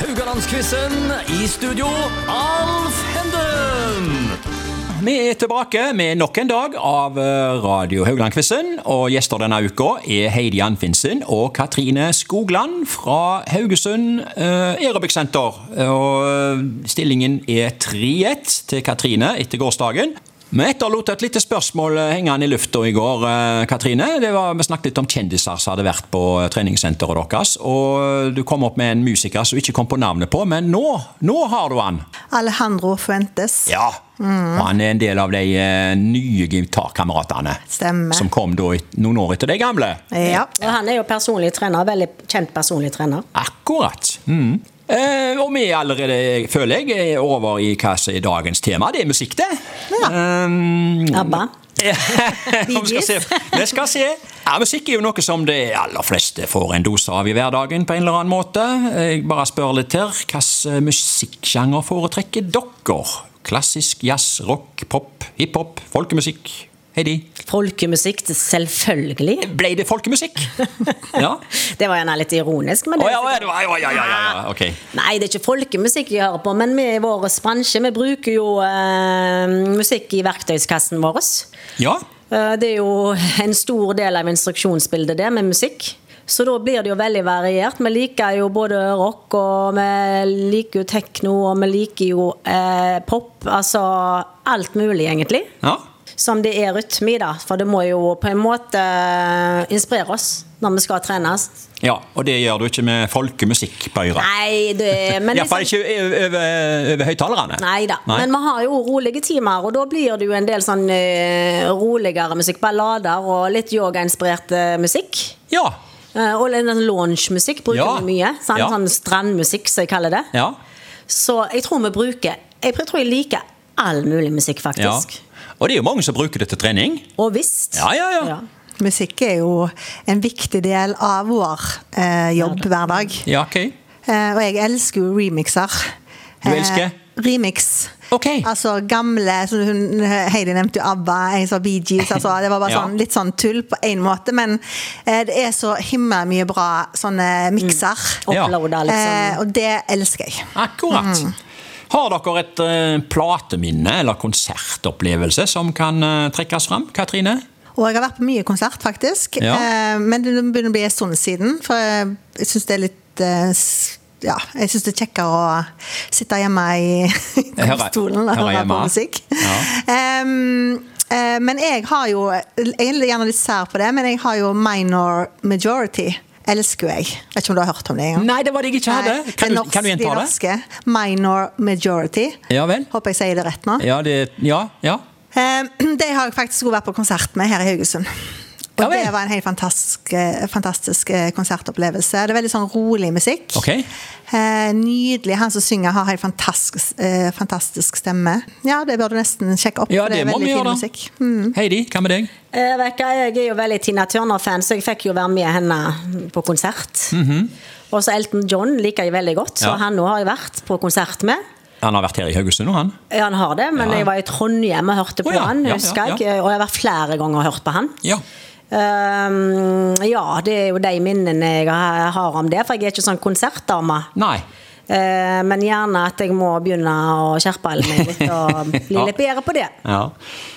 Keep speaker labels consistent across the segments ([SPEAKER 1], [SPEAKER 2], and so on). [SPEAKER 1] Rogalandsquizen i studio, Alf Henden!
[SPEAKER 2] Vi er tilbake med nok en dag av eh, Radio Haugland-quizen. Og gjester denne uka er Heidi Anfinsen og Katrine Skogland fra Haugesund eh, Aerobic Center. Og eh, stillingen er 3-1 til Katrine etter gårsdagen. Vi etterlot et lite spørsmål eh, hengende i lufta i går, eh, Katrine. Det var, vi snakket litt om kjendiser som hadde vært på eh, treningssenteret deres. Og du kom opp med en musiker som ikke kom på navnet på, men nå, nå har du han.
[SPEAKER 3] Alejandro Fuentes.
[SPEAKER 2] Ja. Og han er en del av de eh, nye gitarkameratene.
[SPEAKER 3] Stemmer.
[SPEAKER 2] Som kom da et- noen år etter de gamle.
[SPEAKER 3] Ja.
[SPEAKER 4] Og han er jo personlig trener, veldig kjent personlig trener.
[SPEAKER 2] Akkurat. Mm. Eh, og vi er allerede, føler jeg, er over i hva som er dagens tema. Det er musikk, det. Um,
[SPEAKER 4] ABBA.
[SPEAKER 2] Og Eh, vi skal se. Vi skal se. Ja, musikk er jo noe som de aller fleste får en dose av i hverdagen på en eller annen måte. Jeg bare spør litt her. Hvilken eh, musikksjanger foretrekker dere? Klassisk, jazz, rock, pop, hiphop, folkemusikk? Heidi?
[SPEAKER 4] Folkemusikk, selvfølgelig.
[SPEAKER 2] Ble det folkemusikk? Ja.
[SPEAKER 4] Det var gjerne litt ironisk, men
[SPEAKER 2] Å
[SPEAKER 4] det
[SPEAKER 2] ja, ja, ja, ja, ja, ja. Ok.
[SPEAKER 4] Nei, det er ikke folkemusikk jeg hører på, men vi i vår bransje vi bruker jo eh, musikk i verktøyskassen vår.
[SPEAKER 2] Ja.
[SPEAKER 4] Eh, det er jo en stor del av instruksjonsbildet det, med musikk. Så da blir det jo veldig variert. Vi liker jo både rock, og vi liker jo tekno, og vi liker jo eh, pop. Altså alt mulig, egentlig.
[SPEAKER 2] ja.
[SPEAKER 4] Som det er rytme i, da. For det må jo på en måte eh, inspirere oss når vi skal trenes.
[SPEAKER 2] Ja, Og det gjør du ikke med folkemusikk, Bøyra?
[SPEAKER 4] Nei, det men liksom-
[SPEAKER 2] Iallfall ikke over, over, over høyttalerne.
[SPEAKER 4] Nei da, men vi har jo rolige timer, og da blir det jo en del sånn eh, roligere musikk. Ballader og litt yogainspirert eh, musikk.
[SPEAKER 2] Ja.
[SPEAKER 4] Eh, og litt sånn loungemusikk bruker
[SPEAKER 2] Ja.
[SPEAKER 4] vi mye. Sant?
[SPEAKER 2] Ja.
[SPEAKER 4] Sånn strandmusikk, som jeg kaller det.
[SPEAKER 2] ja.
[SPEAKER 4] Så jeg tror vi bruker Jeg tror jeg liker all mulig musikk,
[SPEAKER 2] Ja.
[SPEAKER 4] faktisk.
[SPEAKER 2] Og det er jo mange som bruker det til trening.
[SPEAKER 4] Og visst.
[SPEAKER 2] Ja, ja, ja.
[SPEAKER 3] Musikk er jo en viktig del av vår eh, jobb hver dag.
[SPEAKER 2] Ja, ok.
[SPEAKER 3] Eh, og jeg elsker jo remixer.
[SPEAKER 2] Du elsker?
[SPEAKER 3] Eh, remix.
[SPEAKER 2] Ok.
[SPEAKER 3] Altså gamle som hun, Heidi nevnte jo ABBA, jeg sa Bee Gees. Altså, det var bare
[SPEAKER 2] Ja.
[SPEAKER 3] sånn, litt sånn tull på én måte, men eh, det er så himmel mye bra sånne mikser.
[SPEAKER 2] Mm. Ja.
[SPEAKER 4] Uploada, liksom.
[SPEAKER 3] Eh, og det elsker jeg.
[SPEAKER 2] Akkurat. Har dere et eh, plateminne eller konsertopplevelse som kan eh, trekkes fram? Katrine?
[SPEAKER 3] Og jeg har vært på mye konsert, faktisk.
[SPEAKER 2] Ja.
[SPEAKER 3] Eh, men det begynner å bli en stund siden, for jeg, jeg syns det er litt eh, s- ja, jeg syns det er kjekkere å sitte hjemme i
[SPEAKER 2] Hører-
[SPEAKER 3] stolen og
[SPEAKER 2] hører
[SPEAKER 3] høre på
[SPEAKER 2] hjemme.
[SPEAKER 3] musikk.
[SPEAKER 2] Ja.
[SPEAKER 3] Em, eh, men jeg har jo Jeg er gjerne litt sær på det, men jeg har jo minor majority. Elsker jo jeg. Vet ikke om du har hørt om det engang?
[SPEAKER 2] Nei, det var det jeg ikke
[SPEAKER 3] Nei,
[SPEAKER 2] hadde. Kan,
[SPEAKER 3] det
[SPEAKER 2] du-
[SPEAKER 3] norske-
[SPEAKER 2] kan du
[SPEAKER 3] de
[SPEAKER 2] gjenta det?
[SPEAKER 3] norske. Minor majority.
[SPEAKER 2] Ja vel.
[SPEAKER 3] Håper jeg sier det rett nå.
[SPEAKER 2] Ja, det, ja, ja.
[SPEAKER 3] Eh, Det har jeg faktisk også vært på konsert med her i Haugesund. Og
[SPEAKER 2] Ja vel.
[SPEAKER 3] det var en helt fantastisk, eh, fantastisk eh, konsertopplevelse. Det er veldig sånn rolig musikk.
[SPEAKER 2] Ok.
[SPEAKER 3] Eh, Nydelig. Han som synger, har helt fantastisk, eh, fantastisk stemme. Ja, det bør du nesten sjekke opp,
[SPEAKER 2] ja
[SPEAKER 3] for
[SPEAKER 2] det,
[SPEAKER 3] det er
[SPEAKER 2] må vi
[SPEAKER 3] veldig fin
[SPEAKER 2] gjøre.
[SPEAKER 3] musikk.
[SPEAKER 2] da.
[SPEAKER 4] Mm.
[SPEAKER 2] Heidi, hva med deg?
[SPEAKER 4] Eh, vet du hva, jeg er jo veldig Tina Turner-fan, så jeg fikk jo være med henne på konsert. Og så Elton John liker jeg veldig godt, så
[SPEAKER 2] Mhm. Ja.
[SPEAKER 4] han nå har jeg vært på konsert med.
[SPEAKER 2] Han har vært her i Haugesund nå, han.
[SPEAKER 4] Ja, han har det, men
[SPEAKER 2] Ja.
[SPEAKER 4] jeg var i Trondheim og hørte
[SPEAKER 2] Å,
[SPEAKER 4] på
[SPEAKER 2] ja.
[SPEAKER 4] han,
[SPEAKER 2] Ja, ja,
[SPEAKER 4] husker
[SPEAKER 2] ja.
[SPEAKER 4] jeg. Og jeg har vært flere ganger og hørt på han.
[SPEAKER 2] Ja.
[SPEAKER 4] Ehm, ja, det er jo de minnene jeg har har om det, for jeg er ikke sånn konsertdame.
[SPEAKER 2] Nei.
[SPEAKER 4] Eh, men gjerne at jeg må begynne å skjerpe meg litt og bli
[SPEAKER 2] Ja.
[SPEAKER 4] litt bedre på det.
[SPEAKER 2] Ja.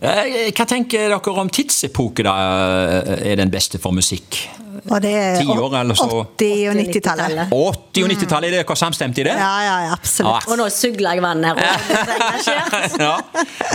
[SPEAKER 2] Eh, Hva tenker dere om tidsepoke da eh, er den beste for musikk?
[SPEAKER 3] Og det er
[SPEAKER 2] Ti år eller så.
[SPEAKER 3] 80- og 90-tallet.
[SPEAKER 2] 80-
[SPEAKER 4] Mm.
[SPEAKER 2] og 90-tallet, er dere samstemte i det?
[SPEAKER 3] Ja, ja, ja, absolutt.
[SPEAKER 4] Og nå sugler jeg vann her. Og det er engasjert.
[SPEAKER 2] Ja.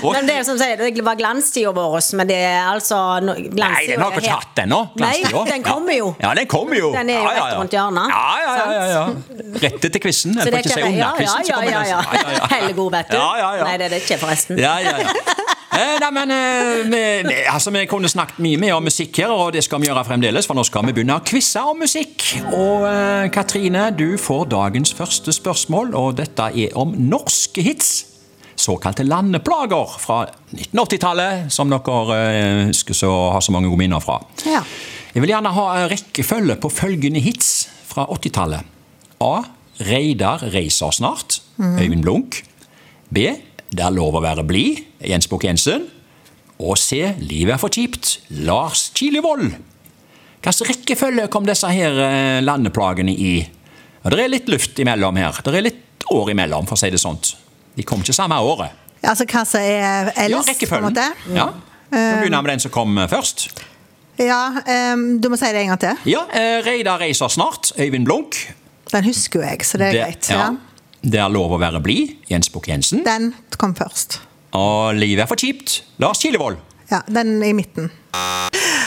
[SPEAKER 2] Og,
[SPEAKER 4] Men det er jo som sier, det var glanstida vår, men det er altså no-
[SPEAKER 2] nei,
[SPEAKER 4] glanstida
[SPEAKER 2] den har
[SPEAKER 4] er
[SPEAKER 2] dere ikke
[SPEAKER 4] helt-
[SPEAKER 2] hatt ennå.
[SPEAKER 4] Nei,
[SPEAKER 2] glanstida.
[SPEAKER 4] den kommer jo.
[SPEAKER 2] Ja, den kommer jo.
[SPEAKER 4] Den er jo
[SPEAKER 2] Ja, ja,
[SPEAKER 4] rett
[SPEAKER 2] ja.
[SPEAKER 4] rundt hjørnet,
[SPEAKER 2] Ja, ja, ja, ja, ja. Rett etter quizen. Jeg
[SPEAKER 4] Så
[SPEAKER 2] får
[SPEAKER 4] det
[SPEAKER 2] ikke
[SPEAKER 4] kan
[SPEAKER 2] si
[SPEAKER 4] jeg-
[SPEAKER 2] under
[SPEAKER 4] ja, ja,
[SPEAKER 2] quizen. så
[SPEAKER 4] ja,
[SPEAKER 2] kommer
[SPEAKER 4] ja,
[SPEAKER 2] den-
[SPEAKER 4] ja.
[SPEAKER 2] ja.
[SPEAKER 4] Hellegod, vet du.
[SPEAKER 2] Ja, ja, ja.
[SPEAKER 4] Nei, det er det ikke, forresten.
[SPEAKER 2] Ja, ja, ja. Eh, Nei, men eh, vi, vi- altså, vi kunne snakket mye mer om musikk her, og det skal vi gjøre fremdeles, for nå skal vi begynne å quizze om musikk. Og eh, Katrine, du får dagens første spørsmål, og dette er om norske hits. Såkalte landeplager fra 1980-tallet, som dere eh, husker så har så mange gode minner fra.
[SPEAKER 3] Ja.
[SPEAKER 2] Jeg vil gjerne ha en rekkefølge på følgende hits fra 80-tallet. A. Reidar reiser snart.
[SPEAKER 3] Mhm.
[SPEAKER 2] Øyvind Blunk. B. Det er lov å være blid. Jens Bukk Jensen. Og C. Livet er for kjipt. Lars Kilevold. Hvilken rekkefølge kom disse her eh, landeplagene i? Og det er litt luft imellom her. Det er litt år imellom, for å si det sånt. De kom ikke samme året.
[SPEAKER 3] Altså hva som er
[SPEAKER 2] Ja,
[SPEAKER 3] eldst, på en
[SPEAKER 2] rekkefølgen.
[SPEAKER 3] måte. Mm. Um,
[SPEAKER 2] Ja. Vi begynner med den som kom eh, først.
[SPEAKER 3] Ja, ehm, du må si det en gang til.
[SPEAKER 2] Ja, eh, Reidar reiser snart. Øyvind Blunk.
[SPEAKER 3] Den husker jo jeg, så det er greit.
[SPEAKER 2] ja.
[SPEAKER 3] Ja.
[SPEAKER 2] Det er lov å være blid. Jens Bukk Jensen.
[SPEAKER 3] Den kom først.
[SPEAKER 2] Og livet er for kjipt. Lars Kilevold.
[SPEAKER 3] Ja, den i midten.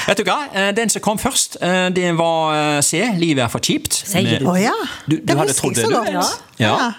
[SPEAKER 2] Vet du hva? Eh, Den som kom først, eh, det var eh, C. Livet er for kjipt.
[SPEAKER 4] Sier
[SPEAKER 2] Med-
[SPEAKER 4] du?
[SPEAKER 3] Å ja.
[SPEAKER 2] Du- du
[SPEAKER 3] den
[SPEAKER 2] hadde
[SPEAKER 3] husker
[SPEAKER 2] trodd
[SPEAKER 3] jeg så
[SPEAKER 2] det, du.
[SPEAKER 3] godt.
[SPEAKER 4] Ja.
[SPEAKER 2] Ja.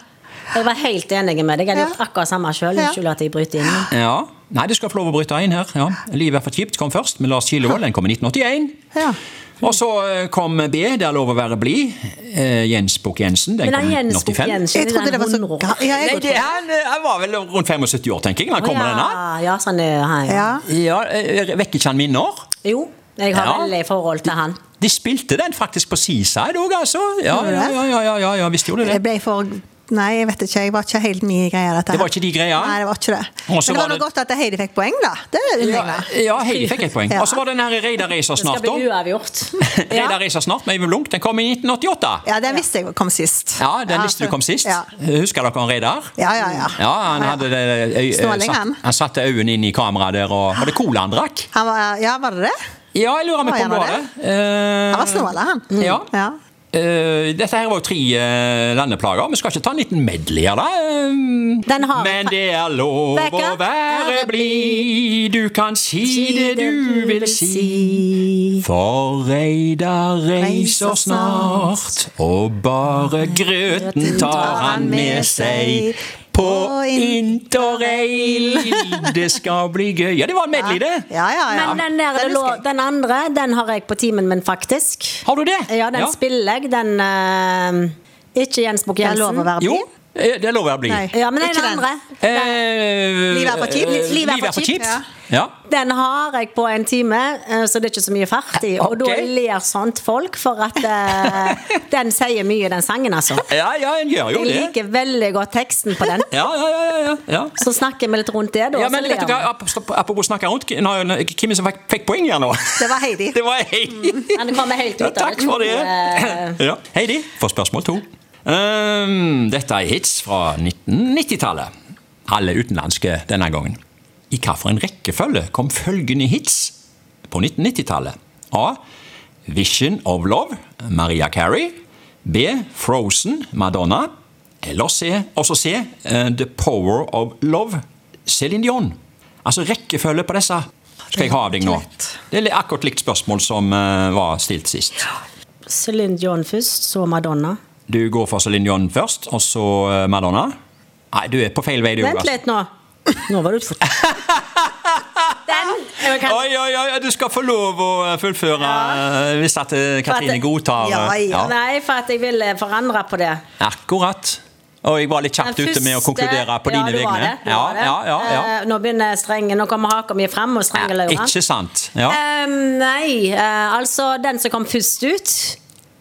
[SPEAKER 4] Jeg var helt enig med deg. Jeg hadde
[SPEAKER 3] Ja.
[SPEAKER 4] gjort akkurat samme sjøl.
[SPEAKER 3] Ja.
[SPEAKER 4] Unnskyld at jeg bryter inn.
[SPEAKER 2] Ja. Nei, du skal få lov å bryte inn her. Ja. Livet er for kjipt kom først, med Lars Kilevold. Den kom i 1981.
[SPEAKER 3] Ja.
[SPEAKER 2] Og så eh, kom B. Det er lov å være blid. Eh, Jens Bukk Jensen. Den
[SPEAKER 4] Men
[SPEAKER 2] kom
[SPEAKER 4] han
[SPEAKER 2] i
[SPEAKER 4] Jens Bukk
[SPEAKER 2] 1985.
[SPEAKER 4] Jensen,
[SPEAKER 3] Jeg trodde det var så
[SPEAKER 4] hundre år.
[SPEAKER 3] ga- ja, jeg,
[SPEAKER 2] Nei, det, han, eh, han var vel rundt 75 år, tenker jeg. Når han
[SPEAKER 4] Å
[SPEAKER 2] kommer denne.
[SPEAKER 4] ja. ja, sånn er han.
[SPEAKER 3] ja.
[SPEAKER 2] Ja, eh, Vekker ikke han minner?
[SPEAKER 4] Jo, jeg har
[SPEAKER 2] Ja.
[SPEAKER 4] veldig forhold til han.
[SPEAKER 2] De spilte den faktisk på Seaside òg, altså. Ja, ja, ja, ja, ja, ja, ja, visst gjorde de det.
[SPEAKER 3] Jeg ble for Nei, jeg vet ikke. Jeg var ikke helt mye greia dette.
[SPEAKER 2] Det
[SPEAKER 3] her.
[SPEAKER 2] var ikke de greia?
[SPEAKER 3] Nei, det var ikke det.
[SPEAKER 2] Og
[SPEAKER 3] Men
[SPEAKER 2] så
[SPEAKER 3] det
[SPEAKER 2] var
[SPEAKER 3] var nå
[SPEAKER 2] det-
[SPEAKER 3] godt at Heidi fikk poeng, da. Det unner jeg
[SPEAKER 2] Ja,
[SPEAKER 3] meg.
[SPEAKER 2] ja, Heidi fikk et poeng.
[SPEAKER 3] Ja.
[SPEAKER 2] Og så var det den her Reidar reiser
[SPEAKER 4] Det skal
[SPEAKER 2] snart,
[SPEAKER 4] bli
[SPEAKER 2] da.
[SPEAKER 4] uavgjort.
[SPEAKER 2] Reidar reiser snart med Øyvind Blunk. Den kom i 1988.
[SPEAKER 3] Ja, den visste jeg kom sist.
[SPEAKER 2] Ja, den visste du kom sist.
[SPEAKER 3] Ja,
[SPEAKER 2] Husker dere han Reidar?
[SPEAKER 3] ja, ja. ja.
[SPEAKER 2] Ja, han hadde det øy,
[SPEAKER 3] Snåling,
[SPEAKER 2] satt-
[SPEAKER 3] han.
[SPEAKER 2] Han satte øynene inn i kameraet der, og var det cola han drakk?
[SPEAKER 3] Han var, ja, var det det?
[SPEAKER 2] Ja, jeg lurer meg
[SPEAKER 3] Var
[SPEAKER 2] på om det
[SPEAKER 3] han
[SPEAKER 2] var det.
[SPEAKER 3] det?
[SPEAKER 2] Eh,
[SPEAKER 3] Han var snål, han. Mm.
[SPEAKER 2] Ja.
[SPEAKER 3] ja.
[SPEAKER 2] Eh, dette her var jo tre eh, landeplager. Vi skal ikke ta en liten medley av det. eh,
[SPEAKER 4] Den har-
[SPEAKER 2] Men det er lov å
[SPEAKER 4] Becka?
[SPEAKER 2] være blid, du kan si det du vil si. For Reidar reiser snart, og bare grøten tar han med seg. På interrail, det skal bli gøy. Ja, det var en medley, det.
[SPEAKER 3] Ja, ja, ja.
[SPEAKER 4] Men den, der,
[SPEAKER 3] Den
[SPEAKER 4] det lå,
[SPEAKER 3] husker jeg.
[SPEAKER 4] den andre den har jeg på timen min, faktisk.
[SPEAKER 2] Har du det?
[SPEAKER 4] Ja, den spiller jeg. Den eh, Ikke Jens Bukk
[SPEAKER 3] Det er lov å
[SPEAKER 4] Jensen.
[SPEAKER 3] være
[SPEAKER 2] Jo,
[SPEAKER 3] blid.
[SPEAKER 2] eh, det lover jeg å bli.
[SPEAKER 3] Nei.
[SPEAKER 4] Ja, men den
[SPEAKER 3] Ikke den.
[SPEAKER 4] andre.
[SPEAKER 2] Eh,
[SPEAKER 3] Livet er for kjipt.
[SPEAKER 2] eh,
[SPEAKER 4] Livet er for kjipt.
[SPEAKER 2] Ja.
[SPEAKER 4] Den har jeg på en time, eh, så det er ikke så mye fart i. Og
[SPEAKER 2] Ok.
[SPEAKER 4] da ler sånt folk, for at eh, den sier mye, den sangen, altså.
[SPEAKER 2] ja, ja, en gjør jo
[SPEAKER 4] Jeg
[SPEAKER 2] det.
[SPEAKER 4] liker veldig godt teksten på den.
[SPEAKER 2] Ja, ja, ja, ja, ja.
[SPEAKER 4] Så snakker vi litt rundt det, da.
[SPEAKER 2] Ja,
[SPEAKER 4] og så
[SPEAKER 2] men vet
[SPEAKER 4] ler
[SPEAKER 2] du hva,
[SPEAKER 4] vi.
[SPEAKER 2] Apropos- apropos snakke rundt, hvem som fikk, fikk poeng her nå?
[SPEAKER 3] Det var Heidi.
[SPEAKER 2] Det var Heidi.
[SPEAKER 4] Han kommer helt ut
[SPEAKER 2] Ja,
[SPEAKER 4] av
[SPEAKER 2] takk for det.
[SPEAKER 4] Eh,
[SPEAKER 2] Ja. Heidi får spørsmål to. Ehm, dette er hits fra 1990-tallet. Alle utenlandske denne gangen. I hvilken rekkefølge kom følgende hits på 1990-tallet? A. Vision of Love, Maria Carey. B. Frozen, Madonna. Eller C. Også C. eh, The Power of Love, Céline Dion. Altså rekkefølge på disse. Skal jeg ha av deg nå? Det er akkurat likt spørsmål som eh, var stilt sist.
[SPEAKER 4] Céline Dion først, så Madonna.
[SPEAKER 2] Du går for Céline Dion først, og så eh, Madonna. Nei, du er på feil vei. du,
[SPEAKER 4] Vent
[SPEAKER 2] altså.
[SPEAKER 4] litt nå. Nå var du utfor... Den! Jeg kan...
[SPEAKER 2] Oi, oi, oi, du skal få lov å eh, fullføre eh, hvis at eh, Katrine
[SPEAKER 4] For at-
[SPEAKER 2] godtar
[SPEAKER 3] Ja,
[SPEAKER 2] eh,
[SPEAKER 3] ja.
[SPEAKER 4] Nei, for at jeg ville forandre på det.
[SPEAKER 2] Akkurat. Og jeg var litt kjapt
[SPEAKER 4] Den
[SPEAKER 2] ute med å
[SPEAKER 4] første-
[SPEAKER 2] konkludere på
[SPEAKER 4] ja,
[SPEAKER 2] dine
[SPEAKER 4] det var
[SPEAKER 2] vegne.
[SPEAKER 4] det, det var det.
[SPEAKER 2] ja, ja, ja, ja.
[SPEAKER 4] Eh, nå begynner strengen. Nå kommer haka mi frem og strengeløra.
[SPEAKER 2] ikke sant. Ja.
[SPEAKER 4] Eh, nei, eh, altså den som kom først ut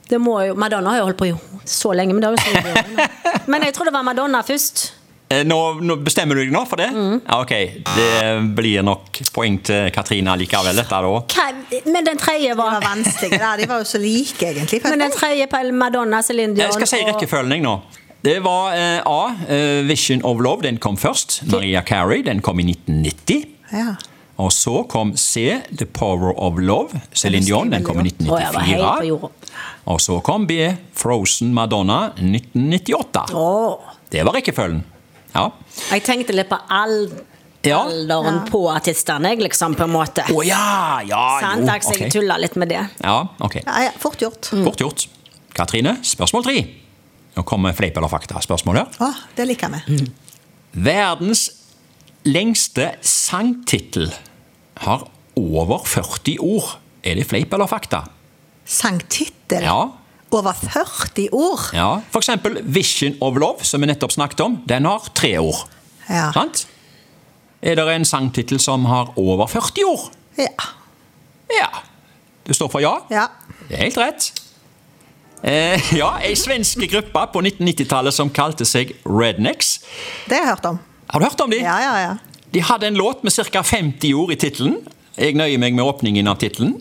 [SPEAKER 4] det må jo, Madonna har jo holdt på i så lenge, men det har jo så mye Men jeg tror det var Madonna først.
[SPEAKER 2] Eh, Nå, nå bestemmer du deg nå for det?
[SPEAKER 4] Mm.
[SPEAKER 2] Ja, ok. Det blir nok poeng til Katrine likevel, dette da.
[SPEAKER 4] Hva, men den tredje
[SPEAKER 3] De var
[SPEAKER 4] var
[SPEAKER 3] vanskelige, da. De var jo så like, egentlig.
[SPEAKER 4] Men den tredje på Madonna, Céline Dion
[SPEAKER 2] Jeg skal si
[SPEAKER 4] og-
[SPEAKER 2] rekkefølgen jeg nå. Det var eh, A. eh, Vision of Love, den kom først. Maria Carey, den kom i 1990.
[SPEAKER 3] Ja.
[SPEAKER 2] Og så kom C. The Power of Love, Céline Dion, den kom i
[SPEAKER 4] Å, jeg var helt på
[SPEAKER 2] 1994.
[SPEAKER 4] jorda.
[SPEAKER 2] Og så kom B. Frozen Madonna, 1998.
[SPEAKER 4] Å,
[SPEAKER 2] Det var rekkefølgen. Ja.
[SPEAKER 4] jeg tenkte litt på al
[SPEAKER 2] Ja.
[SPEAKER 4] alderen på artistene, jeg, liksom, på en måte.
[SPEAKER 2] Å ja! Ja,
[SPEAKER 4] Sant,
[SPEAKER 2] jo.
[SPEAKER 4] Aksel, Mm. jeg
[SPEAKER 2] ok.
[SPEAKER 4] tulla litt med det.
[SPEAKER 2] Ja, ok.
[SPEAKER 3] Ja, ja, fort gjort. Å,
[SPEAKER 2] Fort gjort. Katrine, spørsmål tre. Nå kommer fleip eller fakta-spørsmål her.
[SPEAKER 3] det liker vi.
[SPEAKER 2] Verdens lengste sangtittel har over 40 ord. Er det fleip eller fakta?
[SPEAKER 3] Sangtittel.
[SPEAKER 2] Ja.
[SPEAKER 3] Over 40 ord.
[SPEAKER 2] ja. For eksempel Vision of Love, som vi nettopp snakket om, den har tre ord.
[SPEAKER 3] Ja.
[SPEAKER 2] Sant? Er det en sangtittel som har over 40 ord?
[SPEAKER 3] Ja.
[SPEAKER 2] Ja. Du står for ja?
[SPEAKER 3] ja.
[SPEAKER 2] Det er helt rett. Eh, ja, ei svenske gruppe på 1990-tallet som kalte seg Rednecks.
[SPEAKER 3] Det har jeg hørt om.
[SPEAKER 2] Har du hørt om de?
[SPEAKER 3] Ja, ja, ja.
[SPEAKER 2] De hadde en låt med ca. 50 ord i tittelen. Jeg nøyer meg med åpningen av tittelen.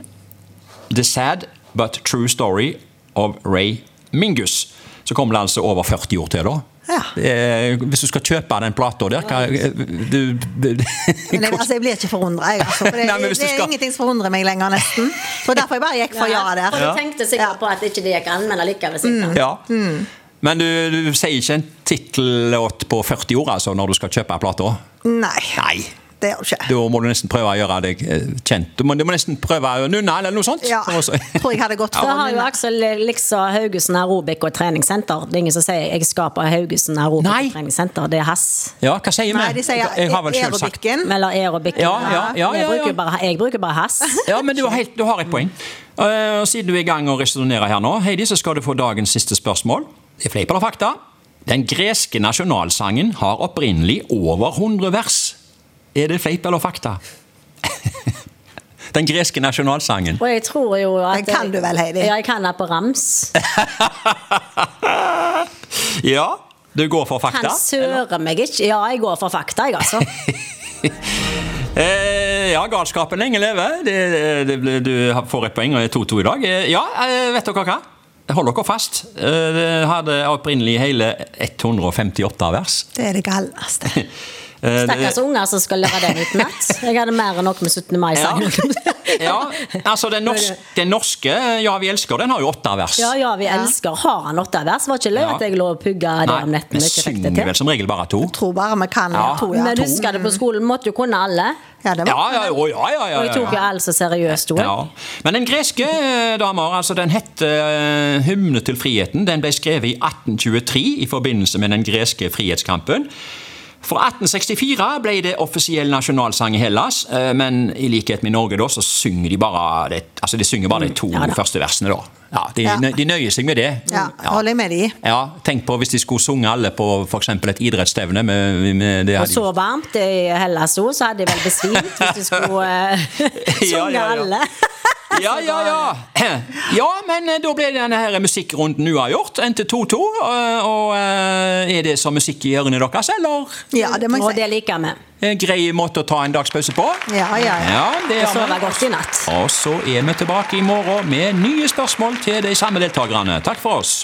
[SPEAKER 2] The Sad But True Story of Ray Mingus. Så kommer det altså over 40 ord til, da.
[SPEAKER 3] Ja.
[SPEAKER 2] Eh, hvis du skal kjøpe den plata der hva, du, du,
[SPEAKER 3] Men jeg, altså, jeg blir ikke forundra. Altså, for det,
[SPEAKER 2] Nei, men hvis du
[SPEAKER 3] det er
[SPEAKER 2] skal-
[SPEAKER 3] ingenting som forundrer meg lenger, nesten. Det var derfor jeg bare gikk for ja der.
[SPEAKER 4] Og du tenkte sikkert på at ikke det gikk an, men allikevel sikkert.
[SPEAKER 3] Mm.
[SPEAKER 2] Ja. Men du, du sier ikke en tittellåt på 40 ord altså, når du skal kjøpe plata?
[SPEAKER 3] Nei.
[SPEAKER 2] Nei.
[SPEAKER 3] Det gjør du ikke.
[SPEAKER 2] Da må du nesten prøve å gjøre deg eh, kjent. Du må, du må nesten prøve å nunne eller noe sånt.
[SPEAKER 3] Ja,
[SPEAKER 2] Og så-
[SPEAKER 3] tror jeg hadde gått
[SPEAKER 4] Så
[SPEAKER 3] for
[SPEAKER 4] har jo
[SPEAKER 3] Nina.
[SPEAKER 4] Aksel Liksa Haugesund aerobikk og treningssenter. Det er ingen som sier 'jeg skal på Haugesund aerobikk
[SPEAKER 2] Nei.
[SPEAKER 4] og treningssenter'. Det er hass.
[SPEAKER 2] Ja, hva sier vi?
[SPEAKER 3] Nei, de sier
[SPEAKER 2] jeg har vel selv sagt
[SPEAKER 3] aerobikken.
[SPEAKER 4] Eller aerobikk.
[SPEAKER 2] Ja, ja, ja,
[SPEAKER 4] Jeg
[SPEAKER 2] ja, ja.
[SPEAKER 4] bruker jo bare- Jeg bruker bare hass.
[SPEAKER 2] Ja, men du har, helt, du har et poeng. Eh, og siden du er i gang og resonnerer her nå, Heidi, så skal du få dagens siste spørsmål. Det er fleip eller fakta. Den greske nasjonalsangen har opprinnelig over 100 vers. Er det fleip eller fakta? Den greske nasjonalsangen.
[SPEAKER 4] Og jeg tror jo at
[SPEAKER 3] Den kan du vel, Heidi?
[SPEAKER 4] Ja, jeg kan det på rams.
[SPEAKER 2] Ja, du går for fakta.
[SPEAKER 4] Kan søren meg ikke. Ja, jeg går for fakta, jeg, altså.
[SPEAKER 2] Eh, ja, galskapen lenge leve. Det, det, det, du får et poeng og er 2-2 i dag. Eh, ja, eh, vet dere hva? Hold dere fast. Eh, det hadde opprinnelig hele 158 vers.
[SPEAKER 3] Det er det galneste.
[SPEAKER 2] Eh, det-
[SPEAKER 4] Stakkars unger som skal lære den utenat. Jeg hadde mer enn nok med 17. mai-sangen.
[SPEAKER 2] ja, altså den norske, den norske eh, Ja, vi elsker den har jo åtte vers.
[SPEAKER 4] Ja, ja, vi elsker. Har han åtte vers? Var ikke løy
[SPEAKER 2] Ja.
[SPEAKER 4] at jeg lå og pugga det om netten?
[SPEAKER 2] vi
[SPEAKER 4] og ikke fikk det
[SPEAKER 2] synger
[SPEAKER 4] til.
[SPEAKER 2] vel som regel bare to.
[SPEAKER 3] Tror bare vi kan
[SPEAKER 2] Ja.
[SPEAKER 3] to, ja.
[SPEAKER 4] Men husker det på skolen, måtte jo kunne alle.
[SPEAKER 3] ja det
[SPEAKER 2] Ja,
[SPEAKER 3] var.
[SPEAKER 2] ja, jo, ja, ja, ja,
[SPEAKER 4] Og jeg tok jo
[SPEAKER 2] ja.
[SPEAKER 4] alt så seriøst, jo.
[SPEAKER 2] ja. Men den greske, eh, damer, altså den heter eh, 'Hymne til friheten'. Den ble skrevet i 1823 i forbindelse med den greske frihetskampen. Fra 1864 ble det offisiell nasjonalsang i Hellas, eh, men i likhet med i Norge da, så synger de bare de, altså de, synger bare de to
[SPEAKER 4] Mm. Ja da.
[SPEAKER 2] første versene. da. Ja, de,
[SPEAKER 3] Ja.
[SPEAKER 2] nø- de nøyer seg med det.
[SPEAKER 3] Ja, holder jeg med de i.
[SPEAKER 2] Ja, tenk på hvis de skulle sunge alle på for eksempel et idrettsstevne med, med det
[SPEAKER 4] Og
[SPEAKER 2] hadde
[SPEAKER 4] så varmt i Hellas òg, så hadde jeg vel besvimt hvis de skulle eh,
[SPEAKER 2] Ja,
[SPEAKER 4] synge
[SPEAKER 2] ja, ja.
[SPEAKER 4] alle.
[SPEAKER 2] Ja, ja, ja. Ja, men eh, da ble denne her musikkrunden uavgjort. Endte 2-2. eh, Og eh, er det som musikk i ørene deres, eller?
[SPEAKER 3] Ja, det må
[SPEAKER 4] Og
[SPEAKER 3] jeg si.
[SPEAKER 4] det liker vi.
[SPEAKER 2] En grei måte å ta en dagspause på?
[SPEAKER 3] Ja, ja, ja.
[SPEAKER 2] Ja, det sånn.
[SPEAKER 4] Og
[SPEAKER 2] gjør
[SPEAKER 4] sove
[SPEAKER 2] vi.
[SPEAKER 4] godt i natt.
[SPEAKER 2] Og så er vi tilbake i morgen med nye spørsmål til de samme deltakerne. Takk for oss.